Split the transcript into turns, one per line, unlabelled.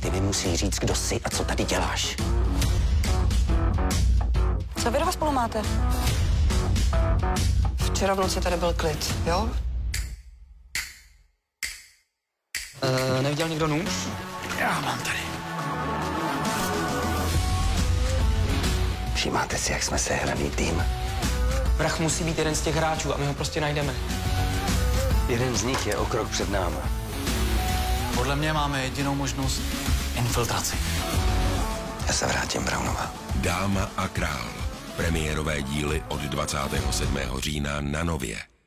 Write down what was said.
Ty mi musíš říct, kdo jsi a co tady děláš.
Co vy dva spolu máte? Včera v noci tady byl klid, jo?
Uh, neviděl někdo nůž?
Všimáte si, jak jsme sehraný tým.
Vrah musí být jeden z těch hráčů a my ho prostě najdeme.
Jeden z nich je o krok před náma.
Podle mě máme jedinou možnost infiltraci.
Já se vrátím, Brownová.
Dáma a král. Premiérové díly od 27. října na Nově.